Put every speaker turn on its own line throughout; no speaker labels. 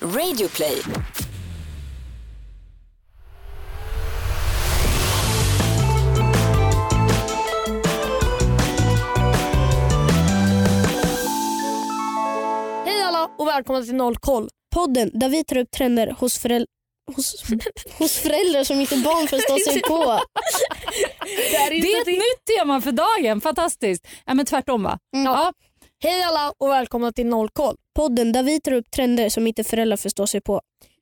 Radioplay.
Hej alla och välkomna till Noll koll.
Podden där vi tar upp trender hos, föräl- hos, hos föräldrar som inte barn förstår sig på.
Det är, ett nytt tema för dagen. Fantastiskt. Ja, men tvärtom va?
Mm.
Ja.
Hej alla och välkomna till Noll koll.
Podden där vi tar upp trender som inte föräldrar förstår sig på.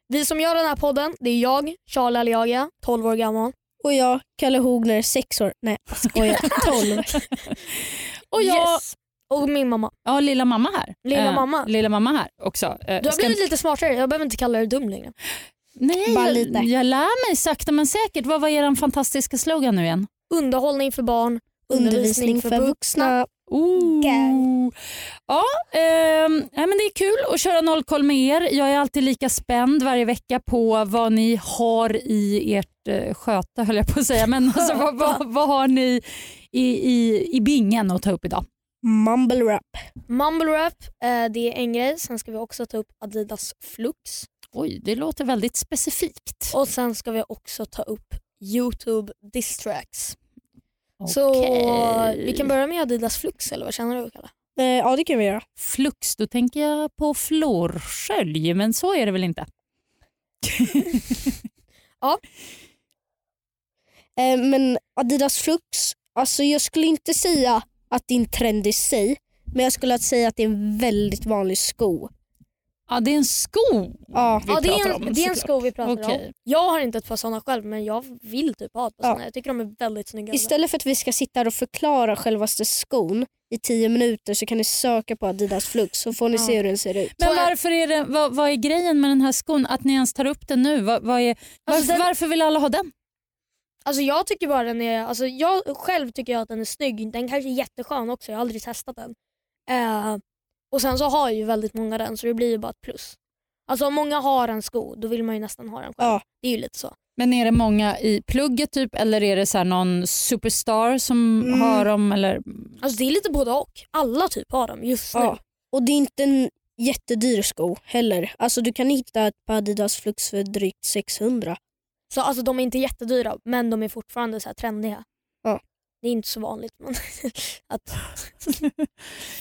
Vi som gör den här podden, det är jag, Charlie Aliaga, 12 år gammal.
Och jag, Kalle Hogner, sex år. Nej, jag skojar. 12.
Och jag
Och min mamma.
ja, lilla mamma här.
Lilla
Eh,
mamma.
Lilla mamma här också. Eh,
Du har
ska-
blivit lite smartare, jag behöver inte kalla dig dum längre.
Nej,
Bara
jag,
lite.
jag lär mig sakta men säkert. Vad var er fantastiska slogan nu igen?
Underhållning för barn,
Undervisning för vuxna.
Oh.
Gal.
Ja, ehm, nej, men det är kul att köra nollkoll med er. Jag är alltid lika spänd varje vecka på vad ni har i ert eh, sköte, höll jag på att säga. Men alltså, vad, vad, vad har ni i, i, i bingen att ta upp idag?
Mumble rap.
Mumble rap, eh, det är en grej. Sen ska vi också ta upp Adidas Flux.
Oj, det låter väldigt specifikt.
Och sen ska vi också ta upp Youtube distracks. Så
Okej.
vi kan börja med Adidas Flux eller vad känner du Kalle?
Eh, ja, det kan vi göra.
Flux, då tänker jag på florskölj, men så är det väl inte?
Eh, men Adidas Flux, alltså jag skulle inte säga att det är en trend i sig. Men jag skulle att säga att det är en väldigt vanlig sko.
Ja, det är en sko
Ja.
vi
ja, det är
pratar
en,
om.
det är en sko vi pratar
Okej.
om. Jag har inte ett par sådana själv men jag vill typ ha ett par
Ja.
sådana. Jag tycker de är väldigt snygga.
Istället för att vi ska sitta här och förklara självaste skon i tio minuter så kan ni söka på Adidas Flux så får ni se hur den ser ut.
Men
Så är-
varför är det, vad, vad är grejen med den här skon? Att ni ens tar upp den nu? Vad, vad är, varför,
den-
varför vill alla ha Alltså, den?
Alltså jag tycker bara den är, alltså jag själv tycker jag att den är snygg. Den kanske är jätteskön också, jag har aldrig testat den. Eh, och sen så har ju väldigt många den så det blir ju bara ett plus. Alltså om många har en sko då vill man ju nästan ha den själv.
Ja.
Det är ju lite så.
Men är det många i plugget typ eller är det så här någon superstar som
Mm.
har dem? Eller?
Alltså det är lite både och. Alla typ har dem just nu.
Ja. Och det är inte en jättedyr sko heller. Alltså du kan hitta ett par Adidas Flux för drygt 600.
Så alltså de är inte jättedyra men de är fortfarande så här trendiga.
Ja.
Det är inte så vanligt. Men att,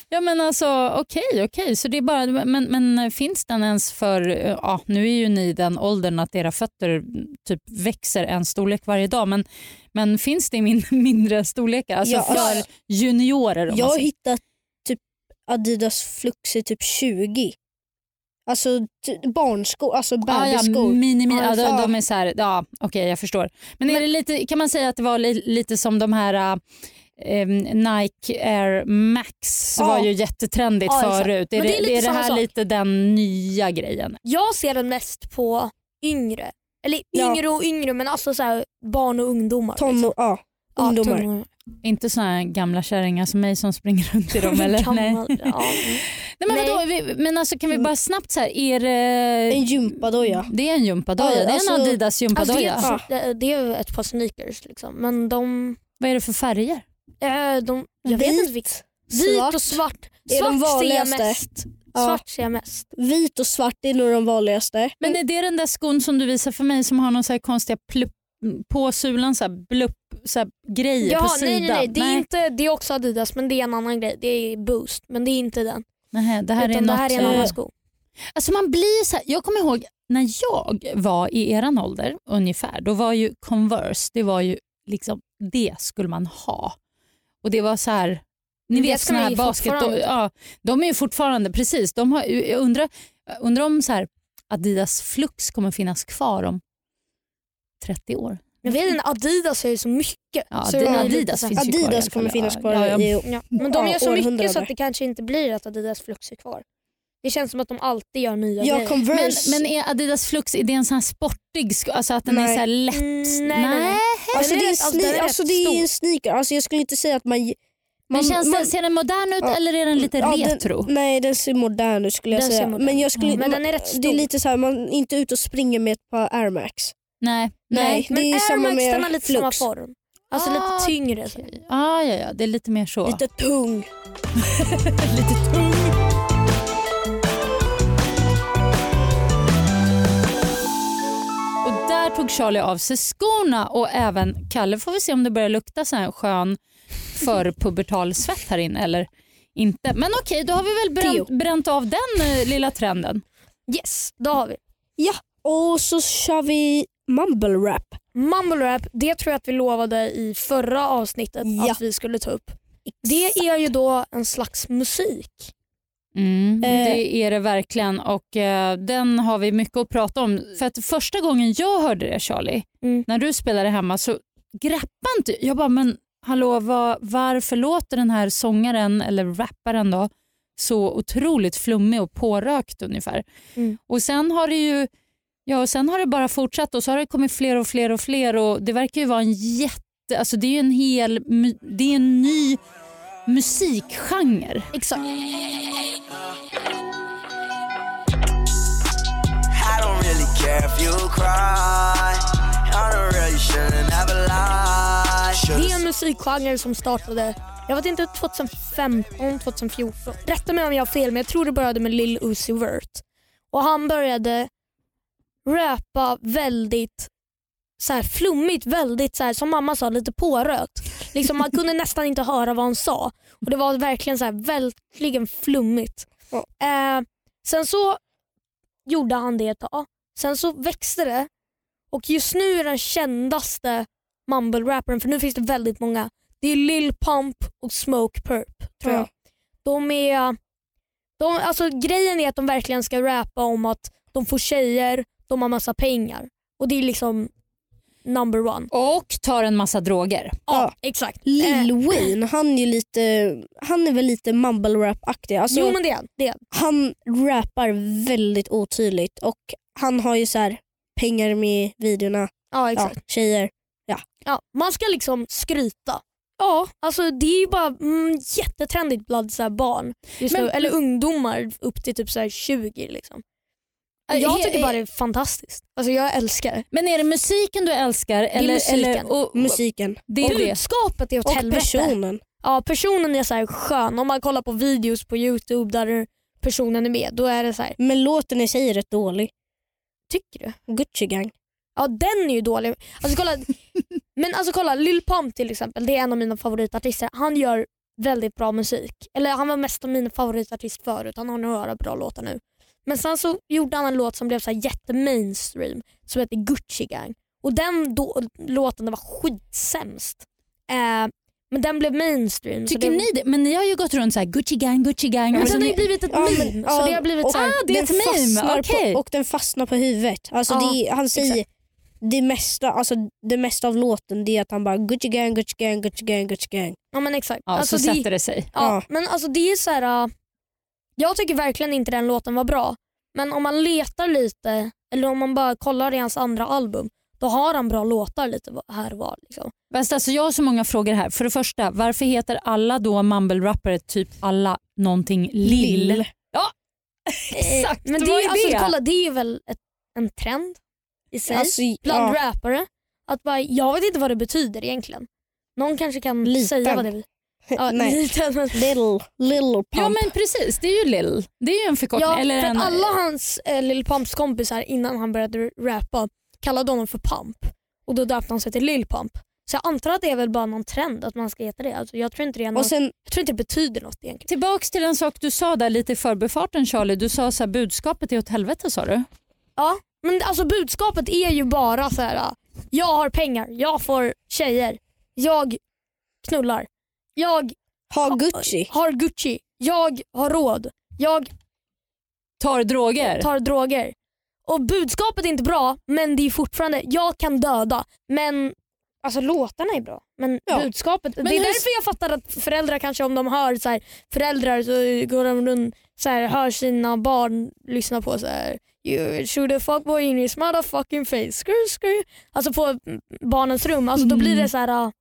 Ja men alltså okej, okej. Så det är bara, men, men finns den ens för, eh, ja nu är ju ni i den åldern att era fötter mm, typ växer en storlek varje dag men, men finns det i min, mindre storlekar? Alltså
Ja,
för
alltså,
juniorer om
jag
man
har
säger.
hittat typ Adidas Flux i typ 20. Alltså t- barnskor, alltså
Ah, Ja, ja,
bebisskor.
mini, mini, ja,
Ja,
alltså.
de,
ja.
de är så här, ja okej jag förstår. Men, är det lite, kan man säga att det var li, lite som de här eh, Nike Air Max
Ja.
var ju jättetrendigt
Ja, exakt.
förut. Är
Men det
det,
är lite
är det
samma
här
sak.
lite den nya grejen?
jag ser den mest på yngre. Eller
Ja.
yngre och yngre men alltså så här, barn och ungdomar. liksom.
Tonår, ja.
Ja,
ungdomar.
tonåringar.
Inte såna här gamla kärringar som mig som springer runt i dem eller?
Kan
Nej.
man- ja, mm.
Nej, men,
Nej. Mm.
vadå, vi, men alltså kan vi bara snabbt så här, är det,
En gympadoja.
det är en gympadoja,
Ja,
det är
alltså-
en Adidas
alltså, det,
gympadoja.
är ett, det- det är ett par sneakers liksom. Men de...
Vad är det för färger?
eh, de jag vet inte vilka. Vit och svart.
Är de
Svart ser jag
vanligaste?
mest.
Ja.
Svart ser jag mest.
Vit och svart är nog de vanligaste.
Men är det den där skon som du visar för mig som har någon så här konstiga plupp på sulan så här blupp så här grejer på
Jaha, nej,
sidan?
nej, nej. Det, är inte, det är också Adidas men det är en annan grej. Det är Boost men det är inte den.
Nähä, det här är
Utan
något...
det här är en annan
eh,
sko.
alltså man blir så här, jag kommer ihåg när jag var i eran ålder ungefär, då var ju Converse, det var ju liksom det skulle man ha. Och det var så här, ni
Men Mm, det
vet
ska
såna
man
här
ju
basket...
fortfarande.
ja, de är ju fortfarande, precis. De har, jag undrar, jag undrar om så här, Adidas Flux kommer finnas kvar om 30 år.
Jag vet inte, Adidas gör ju så mycket.
Ja,
så
Adi-
det är lite
Adidas
så här-
finns ju kvar i alla
Adidas
fall.
kommer finnas
Ja,
kvar
ja, ja.
i
Ja, men de
Ja,
gör så mycket så
århundrade.
att det kanske inte blir att Adidas Flux är kvar. Det känns som att de alltid gör nya
Ja,
grejer.
Men,
Converse.
men är Adidas Flux, är det en sån här sportig sko? Alltså att den är
Nej.
så här lätt?
Mm, nej, nej, nej.
alltså,
Den
det
är
är,
rätt- alltså, den
sne-
är
alltså,
rätt
det är
stor.
en sneaker. Alltså, jag skulle inte säga att man... man
Men känns
man-
den, ser den modern ut
Mm, Ja.
eller är den lite
Ja, den-
retro?
Nej den ser modern ut skulle jag
Den ser
säga.
modern Mm,
Men, jag skulle,
Men den är rätt stor.
det är lite så här, man är inte ute och springer med ett par Air Max.
Nej.
Nej,
Men
det är ju
Air
samma
Max
med
den har lite
Flux.
samma form. Alltså
Ah,
lite tyngre. så.
Ah, ja, ja, det är lite mer så.
Lite tung.
lite tung. tog Charlie av sig skorna och även Kalle får vi se om det börjar lukta så här skön förpubertal svett här inne eller inte. Men okej, då har vi väl bränt, bränt av den eh, lilla trenden.
Yes, då har vi.
Och så kör vi mumble rap.
Mumble rap, det tror jag att vi lovade i förra avsnittet
Ja.
att vi skulle ta upp. Det är ju då en slags musik.
Eh.
Mm. Det är det verkligen och eh, den har vi mycket att prata om. För att första gången jag hörde det Charlie,
Mm.
när du spelade hemma så greppade inte jag. bara, men hallå vad, varför låter den här sångaren eller rapparen då så otroligt flummig och pårökt ungefär.
Mm.
Och sen har det ju ja, och sen har det bara fortsatt och så har det kommit fler och fler och fler och det verkar ju vara en jätte, alltså det är ju en hel, mu- det är en ny musikgenre.
Exakt.
I don't really care if you cry. I don't really shouldn't ever lie.
Det är
Should've
en musikgenre som startade, jag vet inte, 2015, 2014. Rätta mig om jag har fel, men jag tror det började med Lil Uzi Vert. Och han började röpa väldigt så här, flummigt, väldigt så här, som mamma sa, lite pårökt. Liksom, man kunde nästan inte höra vad han sa. Och Det var verkligen så här, verkligen flummigt.
Ja.
Eh, sen så gjorde han det ett tag. Sen så växte det och just nu är den kändaste mumble-rapparen, för nu finns det väldigt många. Det är Lil Pump och Smoke Purp tror
Ja.
jag. De är... De, alltså, grejen är att de verkligen ska rappa om att de får tjejer, de har massa pengar. Och det är liksom number one.
Och tar en massa droger.
Ja, exakt. Eh,
Lil Wayne, han är, lite, han är väl lite mumble rap-aktig. Alltså,
jo men det är han. det är han.
Han rappar väldigt otydligt och han har ju så här pengar med i videorna,
Ja,
ja,
exakt.
tjejer.
Ja, man ska liksom skryta. Ja, alltså det är ju bara mm, jättetrendigt bland så här barn just
Men-
nu, eller ungdomar upp till typ så här 20. Liksom.
Äh,
Eh, Och Jag
He-
tycker
eh,
bara det är fantastiskt. Alltså jag älskar det.
Men är det musiken du älskar? Eller,
musiken.
Eller, och,
Musiken
det är det.
Budskapet är åt
och
helvete.
personen.
Ja, personen är så här skön. Om man kollar på videos på Youtube där personen är med, då är det så här,
Men låten i sig är rätt dålig.
tycker du?
Gucci Gang.
Ja, den är ju dålig. Alltså kolla, men alltså kolla, Lil Pump till exempel, det är en av mina favoritartister. Han gör väldigt bra musik. Eller han var mest av mina favoritartist förut, han har några bra låtar nu. Men sen så gjorde han en låt som blev så här jättemainstream som heter Gucci Gang. Och den då, låten den var skitsämst. Eh, men den blev mainstream. så
Tycker
det,
ni det? Men ni har ju gått runt så här Gucci gang, Gucci gang.
Men
Alltså,
sen har
ni-
det blivit ett
Ja, men-
meme. så
ja,
det har blivit
och-
så här,
ah, det är ett
Den
meme.
fastnar
Okej.
på, och den fastnar på huvudet. Alltså
Ja,
det, är- han säger
exakt.
det mesta, alltså det mesta av låten det är att han bara Gucci Gang, Gucci Gang, Gucci Gang, Gucci Gang.
ja men exakt.
Ja,
Alltså,
så
det-
sätter det sig.
Ja,
Ja.
men alltså det är så här. äh, Jag tycker verkligen inte den låten var bra. Men om man letar lite, eller om man bara kollar i hans andra album, då har han bra låtar lite va- här och var. Liksom.
Fast alltså, jag har så många frågor här. För det första, varför heter alla då mumble-rappare typ alla någonting lill? Exakt,
Eh, men det,
vad
är-
är
alltså,
det?
Kolla, det är väl ett, en trend i sig
Alltså,
bland
ja,
rappare. Att bara, jag vet inte vad det betyder egentligen. Någon kanske kan
Liten.
säga vad det betyder. Ja,
nej.
liten, men-
Little, little pump.
Ja men precis, det är ju lill. Det är ju en förkortning.
Ja,
Eller
för
en,
att alla hans eh, Lil Pumps kompisar innan han började rappa kallade honom för Pump och då döpte han sig till Lil Pump. Så jag antar att det är väl bara någon trend att man ska heta det. Alltså, jag, tror inte det är någon,
Och sen
jag tror inte det betyder något egentligen.
Tillbaks till en sak du sa där lite i förbifarten Charlie. Du sa så här, budskapet är åt helvete sa du.
Ja, men alltså budskapet är ju bara så här. ah, jag har pengar, jag får tjejer, jag knullar, jag
ha Gucci.
har Gucci, jag har råd, jag
Tar droger.
tar droger. Och budskapet är inte bra, men det är fortfarande, jag kan döda. Men alltså låtarna är bra. Men
Ja.
budskapet, det är
hur-
därför jag fattar att föräldrar kanske om de hör så här, föräldrar så går de runt så här, hör sina barn lyssna på så här You shoot a fuckboy in his motherfucking face. Skrr, skrr. Alltså på mm, barnens rum. Alltså då blir det så här. ah,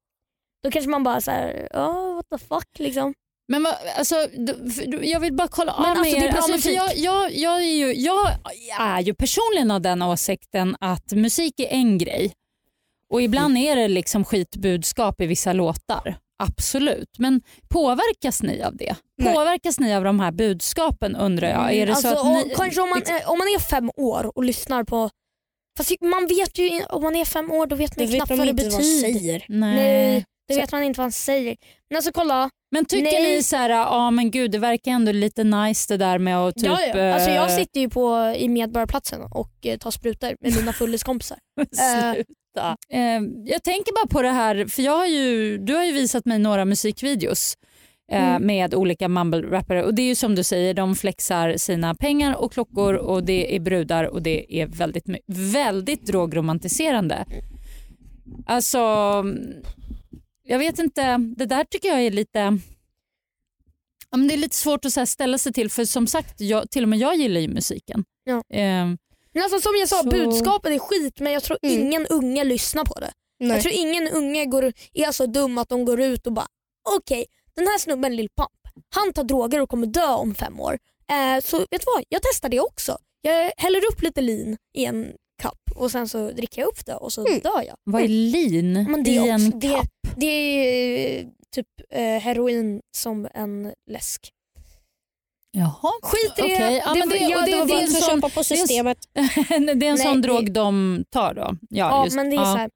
Då kanske man bara så här, oh, what the fuck liksom.
Men vad, alltså, du, för- du, jag vill bara kolla
Men
av
alltså,
med
det är
er.
bra
Alltså, för
musik.
jag, jag, jag, är ju, jag är ju personligen av den åsikten att musik är en grej och ibland är det liksom skitbudskap i vissa låtar. Absolut. Men påverkas ni av det?
Nej.
Påverkas ni av de här budskapen undrar jag? Är det
alltså,
så att
och
ni,
kanske om man,
liksom-
är- om man är fem år och lyssnar på Fast man vet ju, om man är fem år då vet
Det
man
vet
knappt
de
vad det
inte vad de
betyder.
säger.
Nej.
Nej, det
Så-
vet man inte vad han säger. Men alltså kolla,
Men tycker
Nej.
ni så här, ja men gud det verkar ändå lite nice det där med att typ...
ja, ja. Alltså, jag
eh,
sitter ju på, i Medborgarplatsen och eh, tar sprutor med mina fulliskompisar. Eh.
Sluta. Eh, jag tänker bara på det här, för jag har ju, du har ju visat mig några musikvideos eh,
Mm.
med olika mumble-rappare och det är ju som du säger, de flexar sina pengar och klockor och det är brudar och det är väldigt, my- väldigt drogromantiserande. Alltså, jag vet inte, det där tycker jag är lite... Ja, men det är lite svårt att så här ställa sig till för som sagt, jag, till och med jag gillar ju musiken.
Ja.
Eh,
Men alltså, som jag sa,
Så-
budskapet är skit men jag tror
Mm.
ingen unge lyssnar på det.
Nej.
Jag tror ingen unge går, är så dum att de går ut och bara okej, den här snubben Lill Pump, han tar droger och kommer dö om fem år. Eh, så vet du vad, jag testar det också. Jag häller upp lite lin i en kopp och sen så dricker jag upp det och så
Mm.
dör jag.
vad är lean
Men det
i
är
en
också- det- Det är eh, typ eh, heroin som en läsk.
Jaha.
Skit i det.
Okej, ja,
det,
men
var-
det- och
ja,
det-
det var
det
bara-
är en
Man får
sån-
köpa på
är en-
systemet.
det är en
Nej,
sån
det-
drog de tar då?
Ja,
just-
men det är så här.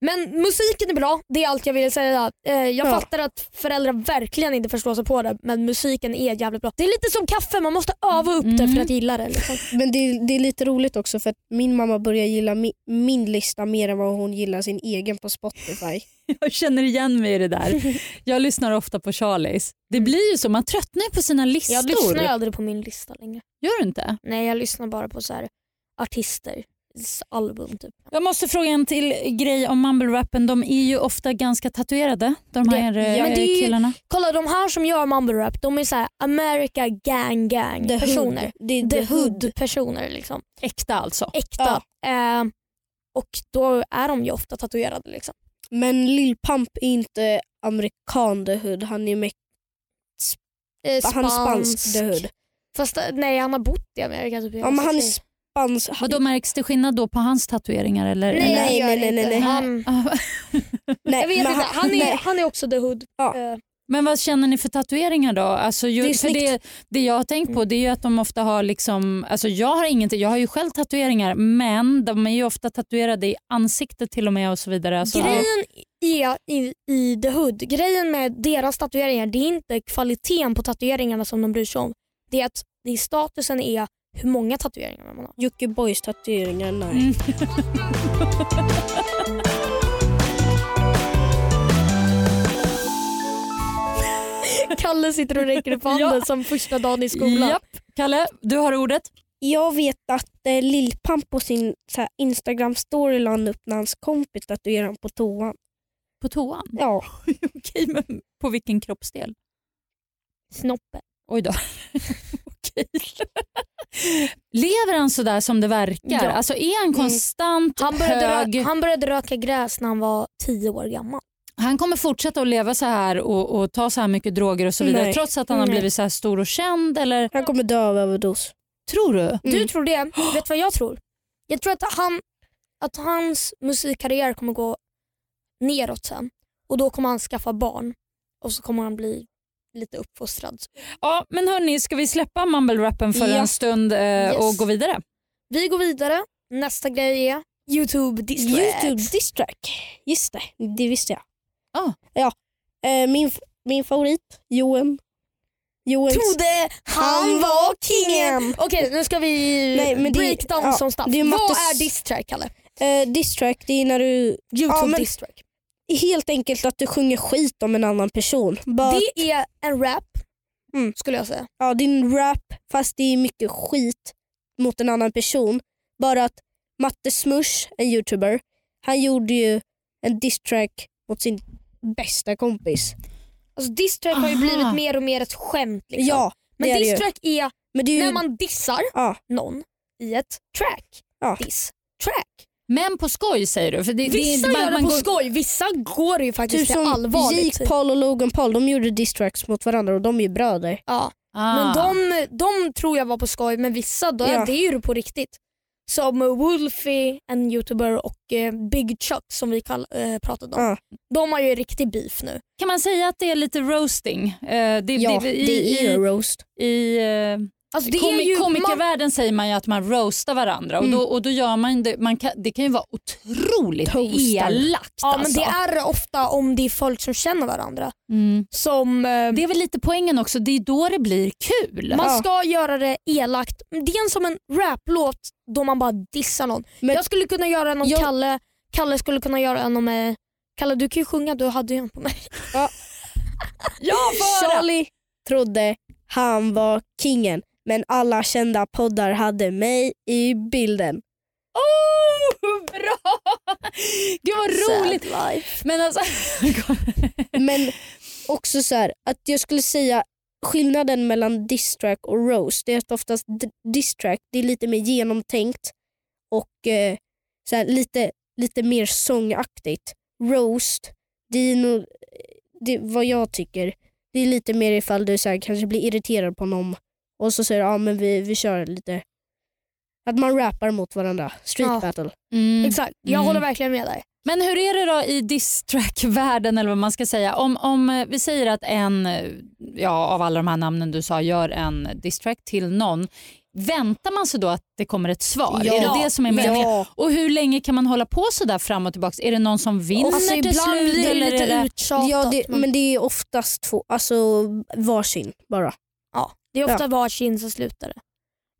Men musiken är bra, det är allt jag vill säga. Eh, jag
Ja.
fattar att föräldrar verkligen inte förstår sig på det men musiken är jävligt bra. Det är lite som kaffe, man måste öva upp det för
Mm.
att gilla det. Liksom.
Men det, det är lite roligt också för att min mamma börjar gilla mi, min lista mer än vad hon gillar sin egen på Spotify.
Jag känner igen mig i det där. Jag lyssnar ofta på Charlies. Det blir ju så, man tröttnar ju på sina listor.
Mm. Jag lyssnar ju aldrig på min lista längre.
Gör du inte?
Nej jag lyssnar bara på så här artister album typ.
Jag måste fråga en till grej om mumble-rappen. De är ju ofta ganska tatuerade, de här
Det-
eh,
ja, men det är ju-
killarna.
Kolla de här som gör mumble rap de är så här America gang gang
The
personer.
Hood. Det är
The hood personer liksom.
Äkta alltså.
Äkta. Eh, och då är de ju ofta tatuerade liksom.
Men Lil Pump är inte amerikan The Hood. Han är, me-
Eh,
han är spansk The Hood.
Fast eh, nej, han har bott i Amerika typ hela
Ja, men
sitt
han är
liv.
spansk.
Vadå, märks det skillnad då på hans tatueringar? Eller?
Nej, Mm.
eller?
nej,
jag gör
nej, nej,
inte.
nej.
Han,
Ah,
Nej,
jag vet
men
inte, han är,
nej.
han är också the hood.
Ja.
Eh,
Men vad känner ni för tatueringar då? Alltså, ju,
Det är
för det, det jag har tänkt på det är ju att de ofta har liksom, alltså jag har ingenting, jag har ju själv tatueringar men de är ju ofta tatuerade i ansiktet till och med och så vidare. Alltså,
Grejen är i, i the hood, grejen med deras tatueringar det är inte kvaliteten på tatueringarna som de bryr sig om. Det är att det är statusen är hur många tatueringar man har.
Jockiboi tatueringar, nej.
Kalle sitter och räcker upp handen
Ja.
som första dagen i skolan.
Japp, Kalle, du har ordet.
Jag vet att eh, Lil Pump på sin så här, Instagram story la han upp när hans kompis tatuerade honom på toan.
På toan?
Ja.
Okej, men på vilken kroppsdel?
Snoppen.
Oj då. Okej. Lever han sådär som det verkar?
Ja.
Alltså är han konstant
Han började,
hög?
röka, han började röka gräs när han var tio år gammal.
Han kommer fortsätta att leva så här och, och ta så här mycket droger och så vidare
Nej.
trots att han har
Nej.
blivit så här stor och känd? Eller?
Han kommer dö av överdos.
Tror du?
Mm.
Du tror det. Vet du vad jag tror? Jag tror att, han, att hans musikkarriär kommer gå neråt sen och då kommer han skaffa barn och så kommer han bli lite uppfostrad.
Ja, men hörni, ska vi släppa mumble-rappen för
Ja.
en stund eh, och
Yes.
gå vidare?
Vi går vidare. Nästa grej är Youtube distracts.
Youtube distrack. Just det, det visste jag.
Ah.
Ja. Eh, min, min favorit, Johan. Johan.
Trodde han var kingen.
kingen.
Okej, nu ska vi
Nej, men det-
breakdown
ja,
som staff.
det är
Vad
mattes-
är distrack Kalle?
Eh, distrack, det är när du
Youtube
men-
distrack.
helt enkelt att du sjunger skit om en annan person. Bara,
Det är en rap
Mm.
skulle jag säga.
ja, det är en rap fast det är mycket skit mot en annan person. Bara att Matte Smush, en youtuber, han gjorde ju en distrack mot sin bästa kompis.
Alltså, distrack har ju
Aha.
blivit mer och mer ett skämt. Liksom.
Ja,
men
det är det ju.
distrack är
men det är ju...
när man dissar
Ja.
någon i ett track.
Ja.
Diss track.
Men på skoj säger du? För det,
Vissa
det,
gör det på
går-
skoj, vissa går ju faktiskt
Typ
till
som
allvarligt.
Jake Paul och Logan Paul, de gjorde distracks mot varandra och de är ju bröder.
Ja.
Ah.
Men de, de tror jag var på skoj men vissa då,
Ja.
det är ju på riktigt. Som eh, Wolfie, en youtuber och eh, Big Chuck som vi kall, eh, pratade om.
Ja.
De har ju riktig beef nu.
Kan man säga att det är lite roasting? Eh, det,
Ja,
det,
det
i,
är ju
i,
roast.
i, eh,
Alltså, det är
Komi-
ju, Mm. man,
komikervärlden säger man ju att man roastar varandra och, då, och då gör man det, man kan, det kan ju vara otroligt
Toastar.
elakt.
ja, men
alltså.
det är ofta om det är folk som känner varandra.
mm.
Som, eh,
det är väl lite poängen också, det är då det blir kul.
man
Ja.
ska göra det elakt. Det är en som en raplåt då man bara dissar någon.
Men-
jag skulle kunna göra en om
Jag-
Kalle, Kalle skulle kunna göra en om... eh, Kalle du kan ju sjunga, du hade ju en på mig.
Charlie trodde han var kingen men alla kända poddar hade mig i bilden.
Oh, bra! Gud vad roligt.
Sad life.
Men alltså,
Men också så här, att jag skulle säga skillnaden mellan distrack och roast det är att oftast d- distrack det är lite mer genomtänkt och eh, så här, lite, lite mer sångaktigt. Roast, det är nog, det, vad jag tycker, det är lite mer ifall du så här, kanske blir irriterad på någon och så säger du ah, men vi, vi kör lite. Att man rappar mot varandra. Street
Ja.
battle.
mm.
Exakt, jag
Mm.
håller verkligen med dig.
Men hur är det då i distrack-världen eller vad man ska säga? Om, om eh, vi säger att en eh, ja, av alla de här namnen du sa gör en distrack till någon. Väntar man sig då att det kommer ett svar?
Ja.
Är det det som är meningen?
Ja.
Och hur länge kan man hålla på så där fram och tillbaka? Är det någon som vinner
Alltså,
till
ibland
slut?
blir det
eller är
lite
det...
uttjatat.
ja, det,
men,
men det är oftast två, alltså varsin bara.
ja, det är ofta varsin som slutar det.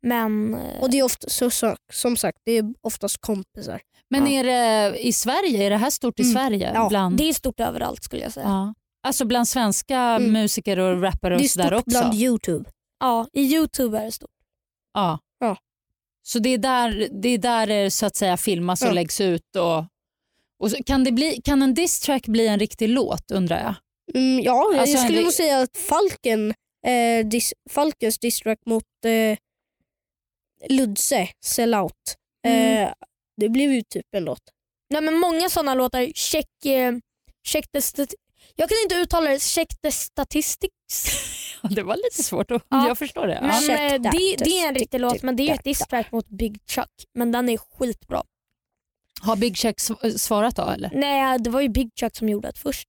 Men eh,
Och det är ofta, så, så, som sagt, det är oftast kompisar.
Men är det i Sverige? Är det här stort i
Mm.
Sverige?
Ja,
Bland...
det är stort överallt skulle jag säga.
Ja. Alltså bland svenska
Mm.
musiker och rappare
det
och
är
sådär
stort
också?
bland Youtube.
Ja, I Youtube är det stort.
Ja.
Ja.
Så det är där det är där det så att säga filmas och
Ja.
läggs ut. Och, och så, kan, det bli, kan en diss-track bli en riktig låt undrar jag?
Mm, ja,
Alltså,
jag skulle
det-
nog säga att Falken, eh, dis, Falkens distrack mot eh, Ludse, Sell Out,
Mm.
eh, det blev ju typ en låt.
Nej, men många sådana låtar, check, eh, check the stati- jag kan inte uttala det, check the statistics.
Ja, Det var lite svårt, att,
Ja.
jag förstår det. Ja.
Men,
Check
eh,
that,
det, det är en
just typ
riktig låt men det är ju ett
that.
distrack mot Big Chuck. Men den är skitbra.
Har Big Check sv- svarat då eller?
Nej, det var ju Big Chuck som gjorde det först.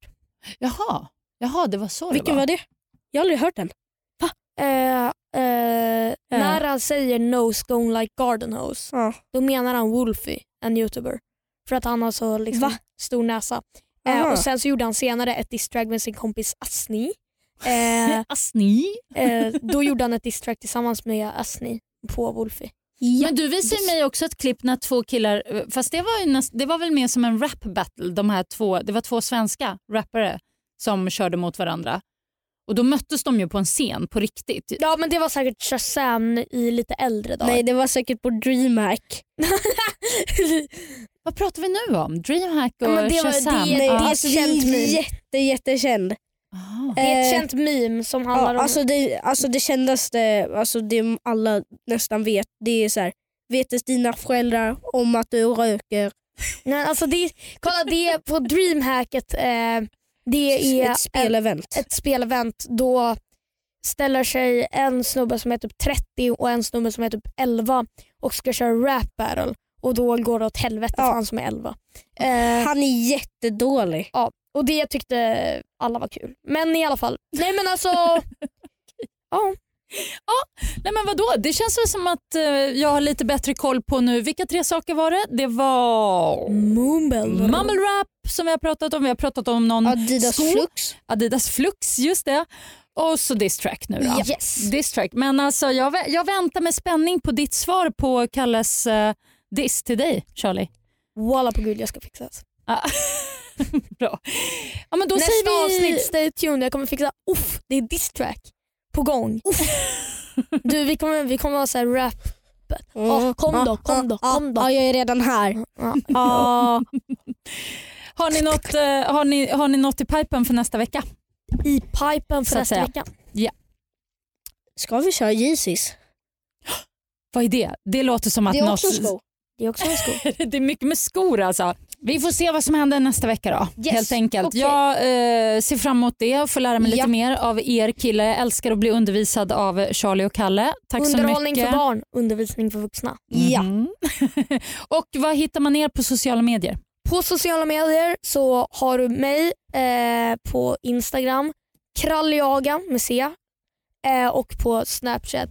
Jaha, Jaha det var så det
Vilken var det? Jag har aldrig hört den.
Eh, eh, När han säger nose gone like garden hose
Ja.
då menar han Wolfie, en youtuber. För att han har så liksom,
Va?
stor näsa. Eh,
Aha.
och Sen så gjorde han senare ett diss-track med sin kompis Asni. Eh,
Asni.
eh, då gjorde han ett diss-track tillsammans med Asni på Wolfie.
Men du visade ju mig också ett klipp när två killar, fast det var, ju näst, det var väl mer som en rap battle, de här två, det var två svenska rappare som körde mot varandra. Och då möttes de ju på en scen på riktigt.
Ja men det var säkert Shazam i lite äldre dagar.
Nej, det var säkert på DreamHack.
Vad pratar vi nu om? Dreamhack och
Ja, men det var-
Shazam?
det- det-
Nej,
Ja.
det är alltså, det
Känt meme.
är jätte, jättekänd.
Ah.
det är ett
Eh,
känt meme som handlar
Ja,
om...
alltså, det, alltså det kändaste, alltså det alla nästan vet, det är så här. Vet dina föräldrar om att du röker?
nej, alltså det, kolla det är på DreamHacket. Eh, det är
ett spelevent.
ett spelevent då ställer sig en snubbe som är typ 30 och en snubbe som är typ 11 och ska köra rap battle och då går det åt helvete för
Ja.
han som är 11. Eh,
Han är jättedålig.
och det tyckte alla var kul. Men i alla fall. Nej men alltså. ja.
Nej men vadå, det känns väl som att eh, jag har lite bättre koll på nu. Vilka tre saker var det? Det var mumble rap som vi har pratat om, vi har pratat om
Mm.
någon
Adidas
sko,
Flux.
Adidas Flux, just det. Och så diss track nu då.
Yes.
Diss track. Men alltså jag, vä- jag väntar med spänning på ditt svar på Kalles eh, diss till dig Charlie.
Walla på gud jag ska fixa det.
Ah. Bra. Ja, men då
Nästa
säger vi...
avsnitt, stay tuned. Jag kommer fixa, uff det är diss track på gång. du vi kommer, vi kommer ha så här rap.
Mm.
Ja,
Mm.
kom då, kom då, kom då.
Ja, Ah, jag är redan här.
Ja.
Ja,
Har ni, något, eh, har, ni, har ni något i pipen för nästa vecka?
I pipen för
Så att
nästa
säga.
vecka.
ska vi köra Jesus?
Vad är det? Det låter som att
Det är
något...
också en sko.
Det är också en skog.
det är mycket med skor alltså. Vi får se vad som händer nästa vecka då.
Yes,
Helt enkelt.
okej.
Jag eh, ser fram emot det och får lära mig
Ja.
lite mer av er killar. Jag älskar att bli undervisad av Charlie och Kalle. Tack så
Underhållning
mycket.
för barn, undervisning för vuxna.
Ja.
Mhm. och vad hittar man er på sociala medier?
På sociala medier så har du mig eh, på Instagram, kralljaga med C eh, och på Snapchat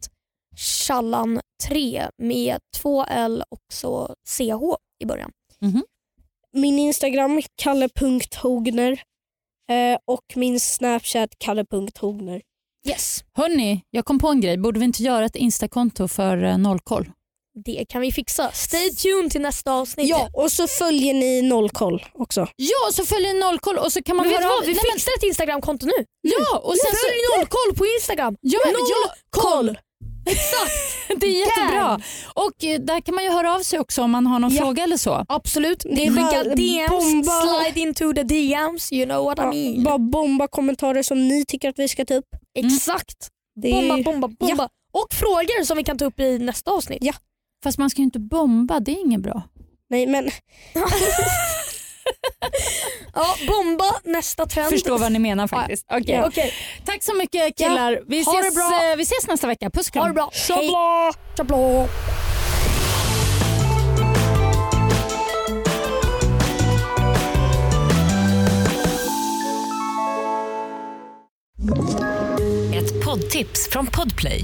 Challan 3 med två L och så CH i början.
Min Instagram kalle.hogner eh, och min Snapchat kalle.hogner.
Yes,
Hörni, jag kom på en grej. Borde vi inte göra ett instakonto för eh, nollkoll?
det kan vi fixa. Stay tuned till nästa avsnitt.
Ja, och så följer ni nollkoll också.
Ja, så följer nollkoll och så kan man
Men vet du
höra
vad?
av...
Vi
Nej, men-
fixar ett Instagramkonto nu.
Ja, och sen så...
Följ Nollkoll på Instagram.
Ja, ja,
Koll!
det är jättebra. Och eh, där kan man ju höra av sig också om man har någon
Ja.
fråga eller så.
Absolut.
Det är
Skicka
bara
DMs,
bomba-
slide into the DMs, you know what I
Ja,
mean.
bara bomba kommentarer som ni tycker att vi ska ta upp.
Exakt.
Det är-
Bomba, bomba, bomba. Och frågor som vi kan ta upp i nästa avsnitt.
Fast man ska ju inte bomba, det är inget bra.
Nej, men
Ja, bomba nästa trend.
Jag förstår vad ni menar faktiskt. Okej.
Okej,
Tack så mycket killar. Vi,
Ha det
ses,
bra.
eh, vi ses nästa vecka. Puss och kram.
ha det bra. Hej. Tjabla.
Ett poddtips från Podplay.